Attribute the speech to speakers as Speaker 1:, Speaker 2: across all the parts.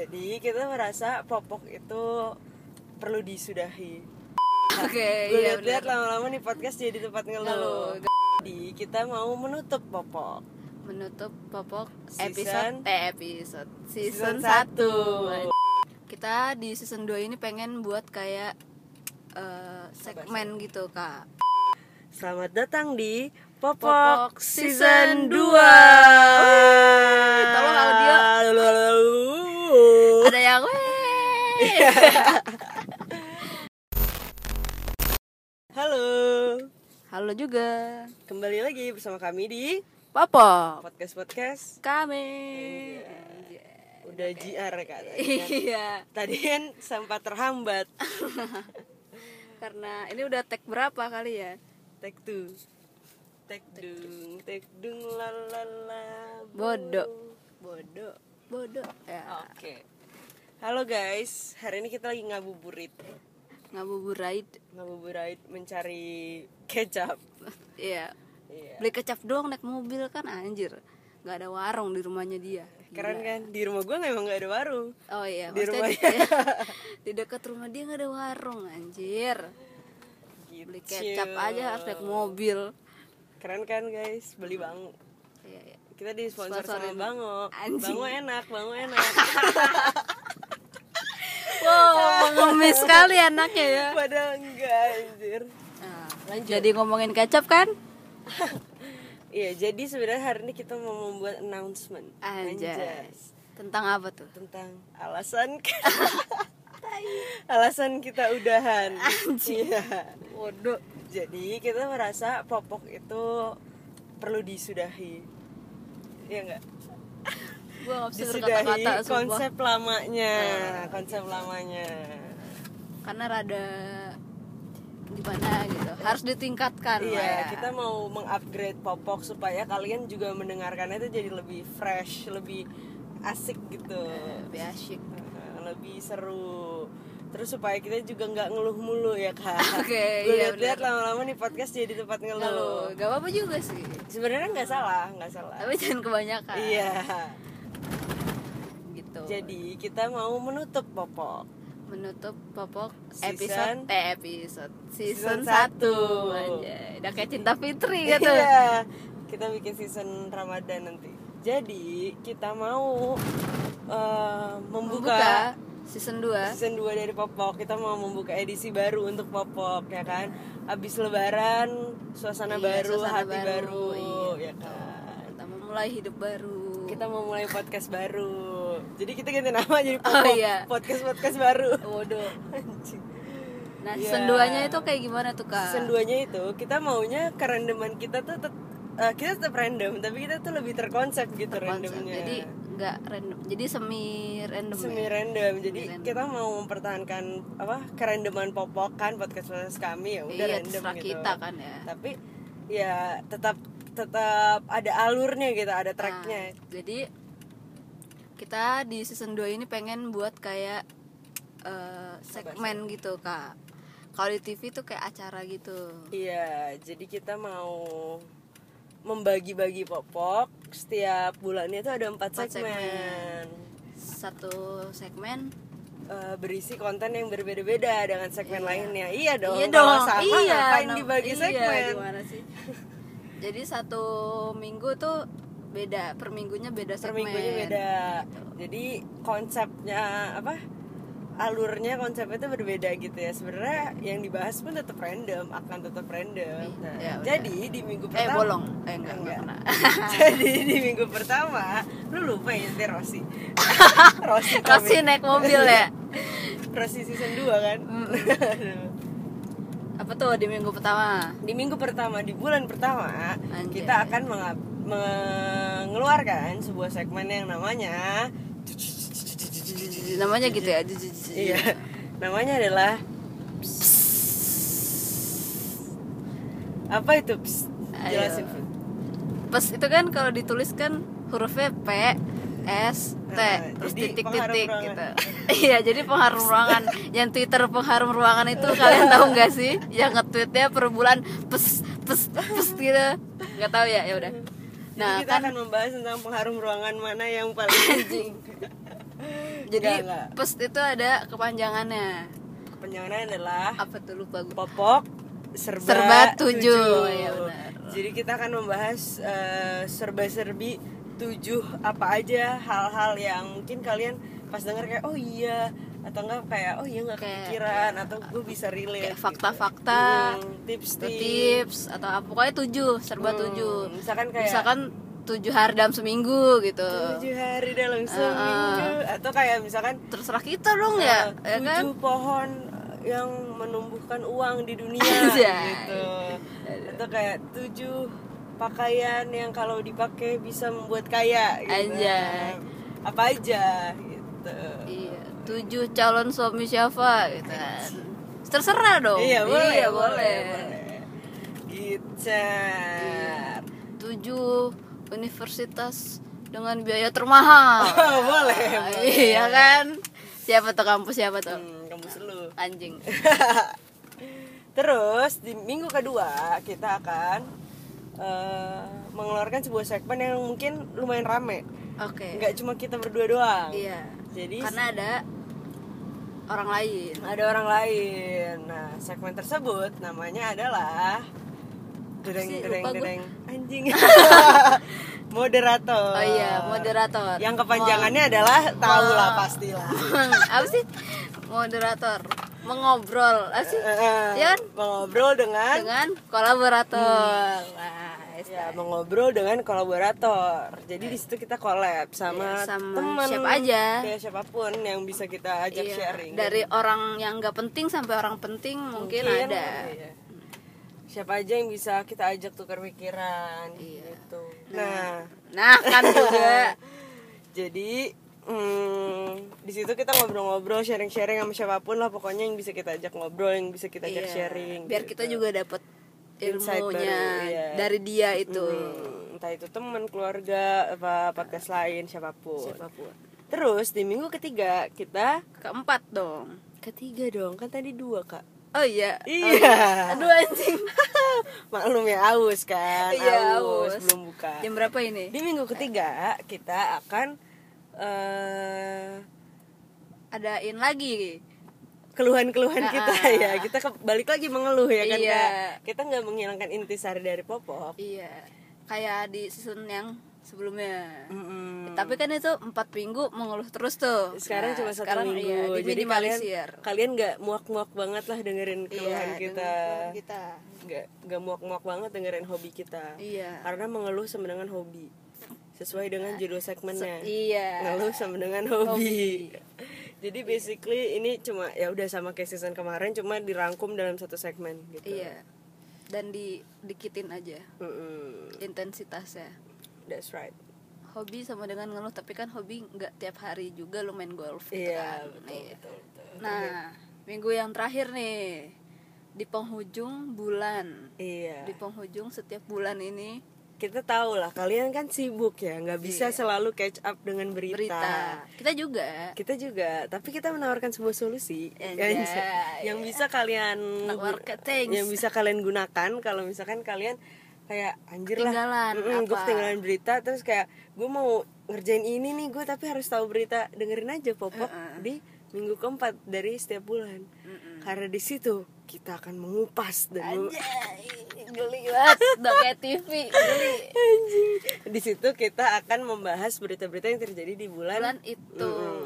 Speaker 1: Jadi kita merasa popok itu perlu disudahi.
Speaker 2: Oke,
Speaker 1: Gue
Speaker 2: iya
Speaker 1: lihat-lihat
Speaker 2: benar.
Speaker 1: lama-lama nih podcast jadi tempat ngeluh.
Speaker 2: Ngeluh.
Speaker 1: Jadi kita mau menutup popok.
Speaker 2: Menutup popok
Speaker 1: Season-
Speaker 2: episode eh episode season,
Speaker 1: Season
Speaker 2: 1. Kita di season 2 ini pengen buat kayak eh, segmen gitu, Kak.
Speaker 1: Selamat datang di Popok
Speaker 2: Popok Season Eh,
Speaker 1: Season 2
Speaker 2: tolong audio. Ada yang weh.
Speaker 1: Halo
Speaker 2: Halo juga.
Speaker 1: Kembali lagi bersama kami di
Speaker 2: Popok
Speaker 1: Podcast-podcast
Speaker 2: kami.
Speaker 1: Udah JR katanya
Speaker 2: Iya.
Speaker 1: Tadi kan sempat terhambat
Speaker 2: Karena ini udah tag berapa kali ya?
Speaker 1: Tek tu Tek dung Tek dung la la la
Speaker 2: Bodoh.
Speaker 1: Bodoh
Speaker 2: Bodoh. Ya.
Speaker 1: Oke Halo guys, hari ini kita lagi ngabuburit
Speaker 2: Ngabuburait.
Speaker 1: ngabuburit mencari kecap.
Speaker 2: Iya.
Speaker 1: Iya.
Speaker 2: Beli kecap doang naik mobil kan anjir. nggak ada warung di rumahnya dia. Iya.
Speaker 1: Keren kan? Di rumah gue emang nggak ada warung.
Speaker 2: Oh iya,
Speaker 1: Di
Speaker 2: maksudnya
Speaker 1: rumahnya.
Speaker 2: di, di dekat rumah dia nggak ada warung anjir.
Speaker 1: Gitu.
Speaker 2: Beli kecap aja harus naik mobil.
Speaker 1: Keren kan guys? Beli bango.
Speaker 2: Iya, iya.
Speaker 1: Kita di sponsor sama
Speaker 2: Hmm. Sponsorin.
Speaker 1: bango.
Speaker 2: Anjing.
Speaker 1: Bango enak, bango enak.
Speaker 2: Wow, mengemis sekali anaknya ya.
Speaker 1: Padahal enggak anjir.
Speaker 2: Nah, Jadi ngomongin kecap kan?
Speaker 1: Iya, jadi sebenarnya hari ini kita mau membuat announcement.
Speaker 2: Anjay.
Speaker 1: Anjay.
Speaker 2: Tentang apa tuh?
Speaker 1: Tentang alasan alasan kita udahan. Iya.
Speaker 2: Waduh.
Speaker 1: Jadi kita merasa popok itu perlu disudahi. Iya enggak?
Speaker 2: Gua nggak bisa
Speaker 1: Disudahi
Speaker 2: berkata-kata sumpah. Nah,
Speaker 1: konsep lamanya, konsep
Speaker 2: gitu.
Speaker 1: lamanya.
Speaker 2: Karena rada gimana gitu. Harus ditingkatkan lah ya.
Speaker 1: Iya, kita mau mengupgrade popok supaya kalian juga mendengarkannya itu jadi lebih fresh, lebih asik gitu.
Speaker 2: lebih asyik.
Speaker 1: Lebih seru. Terus supaya kita juga nggak ngeluh mulu ya, Kak.
Speaker 2: Oke,
Speaker 1: Gue
Speaker 2: iya,
Speaker 1: lihat-lihat lama-lama nih podcast jadi tempat
Speaker 2: Kalau
Speaker 1: ngeluh.
Speaker 2: gak apa-apa juga sih.
Speaker 1: Sebenarnya nggak salah, nggak salah.
Speaker 2: Tapi jangan kebanyakan.
Speaker 1: Iya.
Speaker 2: Gitu.
Speaker 1: Jadi kita mau menutup popok
Speaker 2: menutup popok
Speaker 1: Season-
Speaker 2: episode eh episode season,
Speaker 1: Season
Speaker 2: 1
Speaker 1: satu.
Speaker 2: Anjay, udah kayak cinta Fitri gitu.
Speaker 1: Iya. Kita bikin season Ramadan nanti. Jadi kita mau eh, membuka,
Speaker 2: Membuka season 2.
Speaker 1: season 2 dari Popok. Kita mau membuka edisi baru untuk Popok ya kan. Abis lebaran, suasana
Speaker 2: Iya,
Speaker 1: baru,
Speaker 2: suasana
Speaker 1: hati
Speaker 2: baru,
Speaker 1: baru,
Speaker 2: iya,
Speaker 1: ya kan.
Speaker 2: Kita memulai hidup baru.
Speaker 1: Kita mau mulai podcast baru. Jadi kita ganti nama jadi
Speaker 2: Oh,
Speaker 1: Popok.
Speaker 2: iya.
Speaker 1: Podcast podcast baru.
Speaker 2: Waduh.
Speaker 1: Anjing.
Speaker 2: Nah,
Speaker 1: Iya.
Speaker 2: season 2-nya itu kayak gimana tuh, Kak?
Speaker 1: season 2-nya itu kita maunya kerandoman kita tuh tet- eh, kita tetap random tapi kita tuh lebih terkonsep gitu
Speaker 2: Konsep.
Speaker 1: randomnya
Speaker 2: Jadi nggak random. Jadi semi random.
Speaker 1: semi
Speaker 2: ya?
Speaker 1: random jadi kita mau mempertahankan apa kerandoman popokan podcast podcast kan, kami ya udah
Speaker 2: Iya,
Speaker 1: random
Speaker 2: terserah
Speaker 1: gitu
Speaker 2: kita kan ya.
Speaker 1: tapi ya tetap tetap ada alurnya gitu ada
Speaker 2: Nah,
Speaker 1: tracknya
Speaker 2: jadi kita di season 2 ini pengen buat kayak eh, segmen gitu, Kak. Kalau di TV tuh kayak acara gitu.
Speaker 1: iya jadi kita mau membagi-bagi popok setiap bulannya itu ada empat
Speaker 2: Empat segmen.
Speaker 1: segmen.
Speaker 2: Satu segmen
Speaker 1: eh, berisi konten yang berbeda-beda dengan segmen lainnya. Iya dong.
Speaker 2: iya
Speaker 1: kalau
Speaker 2: dong,
Speaker 1: sama
Speaker 2: iya,
Speaker 1: ngapain
Speaker 2: nam-
Speaker 1: dibagi
Speaker 2: iya,
Speaker 1: segmen?
Speaker 2: gimana sih? Jadi satu minggu tuh beda, per minggunya beda
Speaker 1: Per
Speaker 2: segmen.
Speaker 1: minggunya beda. Jadi konsepnya apa? Alurnya konsepnya itu berbeda gitu ya. Sebenarnya yang dibahas pun tetap random, akan tetap random. Nah,
Speaker 2: Iya, benar.
Speaker 1: jadi di minggu
Speaker 2: Eh
Speaker 1: pertama
Speaker 2: bolong, eh enggak, enggak,
Speaker 1: Enggak.
Speaker 2: pernah.
Speaker 1: jadi di minggu pertama lu lupa ya nanti Rosi. Rosi
Speaker 2: Rosi
Speaker 1: komik.
Speaker 2: naik mobil ya.
Speaker 1: Rosi season 2 kan. Aduh.
Speaker 2: Apa tuh di minggu pertama?
Speaker 1: di minggu pertama di bulan pertama
Speaker 2: Anjay.
Speaker 1: kita akan menga- mengeluarkan sebuah segmen yang namanya
Speaker 2: Namanya gitu ya.
Speaker 1: iya namanya adalah apa itu Psst,
Speaker 2: Ayo.
Speaker 1: jelasin Fut.
Speaker 2: Pas itu kan kalau ditulis kan hurufnya P S T
Speaker 1: Nah,
Speaker 2: terus
Speaker 1: jadi
Speaker 2: titik-titik
Speaker 1: pengharum
Speaker 2: gitu. iya, jadi pengharum ruangan. Yang Twitter pengharum ruangan itu kalian tahu nggak sih? Yang nge-tweetnya per bulan pes pes pes gitu. Nggak tahu ya, ya udah.
Speaker 1: Jadi
Speaker 2: Nah,
Speaker 1: kita akan membahas tentang pengharum ruangan mana yang paling anjing
Speaker 2: Jadi
Speaker 1: Enggak, enggak.
Speaker 2: pes itu ada kepanjangannya.
Speaker 1: Kepanjangannya adalah
Speaker 2: Apa tuh lupa gue.
Speaker 1: popok serba,
Speaker 2: Serba
Speaker 1: tujuh.
Speaker 2: tujuh, ya benar.
Speaker 1: Jadi kita akan membahas eh, serba-serbi tujuh apa aja hal-hal yang mungkin kalian pas dengar kayak oh iya atau enggak kayak oh iya nggak
Speaker 2: Kayak-
Speaker 1: kepikiran atau gue bisa relate
Speaker 2: Kayak
Speaker 1: gitu.
Speaker 2: fakta-fakta,
Speaker 1: Hmm,
Speaker 2: atau
Speaker 1: tips-tips
Speaker 2: tips atau apa pokoknya tujuh serba
Speaker 1: Hmm,
Speaker 2: tujuh.
Speaker 1: misalkan kayak eh,
Speaker 2: Misalkan tujuh hari dalam seminggu gitu.
Speaker 1: tujuh hari dalam
Speaker 2: eh,
Speaker 1: seminggu atau kayak misalkan
Speaker 2: Terserah kita dong eh. ya,
Speaker 1: eh,
Speaker 2: ya kan?
Speaker 1: tujuh pohon yang menumbuhkan uang di dunia
Speaker 2: Anjay.
Speaker 1: gitu atau kayak tujuh pakaian yang kalau dipakai bisa membuat kaya gitu.
Speaker 2: Anjay.
Speaker 1: apa aja gitu
Speaker 2: Iya, tujuh calon suami siapa gitu kan. Terserah dong.
Speaker 1: iya boleh
Speaker 2: Iya,
Speaker 1: boleh,
Speaker 2: boleh.
Speaker 1: boleh. Gitu.
Speaker 2: Iya.
Speaker 1: Gicar.
Speaker 2: Tujuh universitas dengan biaya termahal.
Speaker 1: Oh, boleh,
Speaker 2: Iya kan? Siapa tuh kampus siapa tuh?
Speaker 1: Hmm, kampus lu
Speaker 2: Anjing.
Speaker 1: Terus di minggu kedua kita akan eh, mengeluarkan sebuah segmen yang mungkin lumayan rame.
Speaker 2: Oke.
Speaker 1: Nggak cuma kita berdua doang.
Speaker 2: Iya.
Speaker 1: Jadi
Speaker 2: Karena ada orang lain.
Speaker 1: ada orang lain. Nah, segmen tersebut namanya adalah dereng
Speaker 2: sih?
Speaker 1: dereng
Speaker 2: Lupa gua.
Speaker 1: dereng anjing. moderator.
Speaker 2: Oh iya, moderator.
Speaker 1: Yang kepanjangannya adalah tahu lah pastilah.
Speaker 2: apa sih? Moderator. Mengobrol. Apa sih?
Speaker 1: Eh,
Speaker 2: Iya kan?
Speaker 1: Mengobrol dengan
Speaker 2: Dengan
Speaker 1: Hmm,
Speaker 2: kolaborator. Nice.
Speaker 1: ya mengobrol dengan kolaborator jadi di situ kita collab sama,
Speaker 2: Iya, sama
Speaker 1: teman
Speaker 2: siapa aja.
Speaker 1: ya siapapun yang bisa kita ajak
Speaker 2: Iya,
Speaker 1: sharing
Speaker 2: Dari orang yang nggak penting sampai orang penting mungkin, ada.
Speaker 1: iya. siapa aja yang bisa kita ajak tukar pikiran
Speaker 2: Iya.
Speaker 1: gitu nah
Speaker 2: Nah, kan juga.
Speaker 1: jadi hmm, di situ kita ngobrol-ngobrol sharing-sharing sama siapapun lah pokoknya yang bisa kita ajak ngobrol yang bisa kita ajak
Speaker 2: Iya,
Speaker 1: sharing
Speaker 2: Biar
Speaker 1: gitu.
Speaker 2: kita juga dapat
Speaker 1: Insight baru,
Speaker 2: ilmunya
Speaker 1: iya.
Speaker 2: dari dia itu.
Speaker 1: Hmm, entah itu teman keluarga apa podcast lain Nah, siapapun
Speaker 2: Siapapun.
Speaker 1: Terus di minggu ketiga kita
Speaker 2: Keempat dong.
Speaker 1: ketiga dong kan tadi dua kak.
Speaker 2: Oh iya. Oh,
Speaker 1: Iya.
Speaker 2: Aduh anjing.
Speaker 1: Maklum ya aus kan.
Speaker 2: Iya,
Speaker 1: aus,
Speaker 2: aus.
Speaker 1: belum buka.
Speaker 2: Jam berapa ini?
Speaker 1: Di minggu ketiga kita akan eh,
Speaker 2: Adain lagi.
Speaker 1: keluhan-keluhan kita ya. Kita ke- balik lagi mengeluh ya kan
Speaker 2: Iya.
Speaker 1: kak. Kita nggak menghilangkan intisari dari popok.
Speaker 2: Iya. Kayak di season yang sebelumnya.
Speaker 1: Mm-mm.
Speaker 2: Tapi kan itu empat minggu mengeluh terus tuh.
Speaker 1: Sekarang
Speaker 2: Nah,
Speaker 1: cuma satu
Speaker 2: sekarang
Speaker 1: minggu.
Speaker 2: iya,
Speaker 1: Jadi kalian
Speaker 2: diminimalisir.
Speaker 1: kalian nggak muak-muak banget lah dengerin keluhan
Speaker 2: Iya,
Speaker 1: kita.
Speaker 2: dengan kita.
Speaker 1: Nggak nggak muak-muak banget dengerin hobi kita.
Speaker 2: Iya.
Speaker 1: karena mengeluh sama dengan hobi sesuai dengan judul segmennya
Speaker 2: Iya.
Speaker 1: mengeluh sama dengan hobi, jadi basically ini cuma ya udah sama kayak season kemarin cuma dirangkum dalam satu segmen gitu
Speaker 2: Iya. Dan di dikitin aja
Speaker 1: Mm-mm.
Speaker 2: intensitasnya.
Speaker 1: that's right
Speaker 2: Hobi sama dengan ngeluh, tapi kan hobi nggak tiap hari juga lu main golf gitu
Speaker 1: iya
Speaker 2: kan.
Speaker 1: betul,
Speaker 2: Iya.
Speaker 1: betul betul
Speaker 2: Nah, minggu yang terakhir nih di penghujung bulan.
Speaker 1: iya
Speaker 2: Di penghujung setiap bulan ini
Speaker 1: kita tahu lah kalian kan sibuk ya nggak bisa selalu catch up dengan berita.
Speaker 2: Iya. berita. Kita juga
Speaker 1: kita juga tapi kita menawarkan sebuah solusi
Speaker 2: Anjay.
Speaker 1: yang bisa kalian
Speaker 2: Menawarkan, thanks.
Speaker 1: yang bisa kalian gunakan kalau misalkan kalian kayak anjir lah
Speaker 2: Ketinggalan,
Speaker 1: mm-mm, gue
Speaker 2: apa?"
Speaker 1: ketinggalan berita terus kayak gue mau ngerjain ini nih gue tapi harus tahu berita dengerin aja popok di minggu keempat dari setiap bulan karena di situ kita akan mengupas dan mem-
Speaker 2: geli banget udah kayak TV geli
Speaker 1: Kan? di situ kita akan membahas berita-berita yang terjadi di
Speaker 2: bulan itu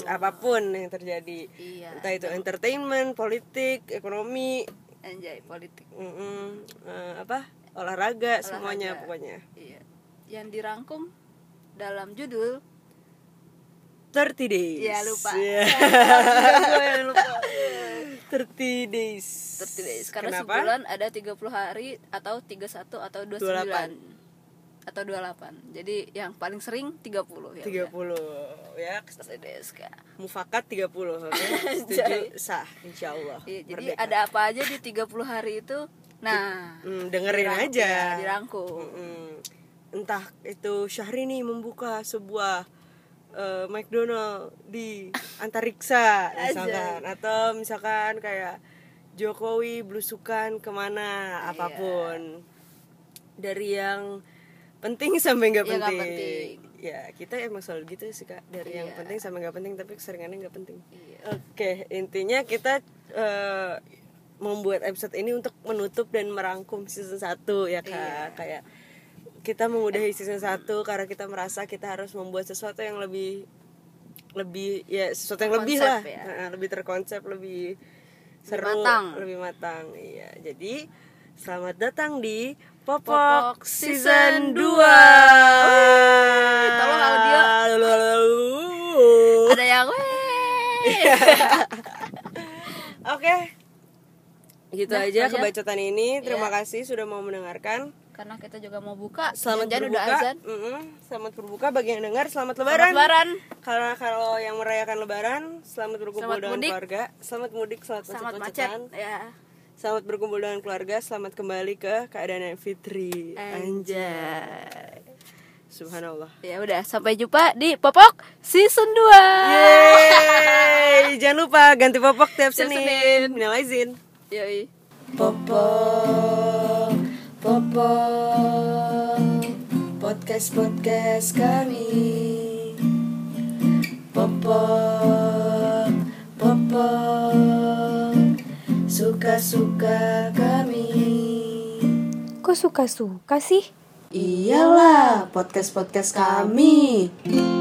Speaker 1: Mm, apapun yang terjadi
Speaker 2: Iya.
Speaker 1: entah itu entertainment politik ekonomi
Speaker 2: anjay politik
Speaker 1: mm-mm, eh, apa olahraga, semuanya pokoknya
Speaker 2: iya yang dirangkum dalam judul
Speaker 1: 30 days
Speaker 2: ya lupa
Speaker 1: Iya,
Speaker 2: gue yang lupa
Speaker 1: 30 days
Speaker 2: 30 days. karena
Speaker 1: Kenapa?
Speaker 2: sebulan ada 30 hari atau 31 atau 29 atau 28 jadi yang paling sering 30 ya
Speaker 1: 30 ya
Speaker 2: 30 days Kak.
Speaker 1: mufakat 30 oke setuju sah insyaallah
Speaker 2: Iya, jadi
Speaker 1: Merdeka.
Speaker 2: ada apa aja di 30 hari itu nah
Speaker 1: Mm, dengerin
Speaker 2: dirangkum,
Speaker 1: aja
Speaker 2: ya, dirangkum
Speaker 1: Mm-mm. entah itu Syahrini membuka sebuah eh, McDonald di antariksa misalkan atau misalkan kayak Jokowi belusukan
Speaker 2: Iya.
Speaker 1: kemana apapun dari yang penting sampai nggak
Speaker 2: Iya, nggak
Speaker 1: penting.
Speaker 2: penting.
Speaker 1: ya kita emang selalu gitu sih kak dari yang
Speaker 2: Iya.
Speaker 1: penting sama nggak penting tapi keseringannya nggak penting
Speaker 2: Iya.
Speaker 1: oke intinya kita eh, membuat episode ini untuk menutup dan merangkum season 1 ya kak
Speaker 2: Iya.
Speaker 1: kayak kita mengudahi season 1 karena kita merasa kita harus membuat sesuatu yang lebih lebih ya sesuatu yang lebih lah
Speaker 2: Terkonsep ya.
Speaker 1: Nah, lebih terkonsep lebih seru
Speaker 2: matang.
Speaker 1: lebih matang iya jadi selamat datang di Popok,
Speaker 2: Popok
Speaker 1: season 2
Speaker 2: Season tolong audio.
Speaker 1: Uh.
Speaker 2: ada yang
Speaker 1: Iya.
Speaker 2: weh
Speaker 1: Oke. Gitu
Speaker 2: Udah,
Speaker 1: aja
Speaker 2: aja.
Speaker 1: kebacotan ini. Terima
Speaker 2: Nah, Iya.
Speaker 1: kasih sudah mau mendengarkan.
Speaker 2: karena kita juga mau buka
Speaker 1: Selamat
Speaker 2: Jangan
Speaker 1: berbuka.
Speaker 2: udah azan
Speaker 1: Mm-mm. Selamat berbuka bagi yang dengar. Selamat
Speaker 2: Selamat
Speaker 1: lebaran.
Speaker 2: lebaran
Speaker 1: Karena kalau yang merayakan lebaran, selamat berkumpul
Speaker 2: Selamat
Speaker 1: dengan
Speaker 2: mudik.
Speaker 1: keluarga. Selamat mudik, selamat,
Speaker 2: selamat macet
Speaker 1: macet-macetan.
Speaker 2: ya
Speaker 1: Selamat berkumpul dengan keluarga. Selamat kembali ke keadaan yang fitri.
Speaker 2: anjay
Speaker 1: Subhanallah.
Speaker 2: ya udah sampai jumpa di popok season
Speaker 1: Yeay!
Speaker 2: 2
Speaker 1: Jangan lupa ganti popok tiap
Speaker 2: Tiap
Speaker 1: Senin.
Speaker 2: Senin.
Speaker 1: Minal aizin.
Speaker 2: yoi
Speaker 1: Popok, popok, podcast podcast kami. Popok, popok, suka suka kami.
Speaker 3: Kok suka-suka sih?
Speaker 1: Iyalah, podcast podcast kami.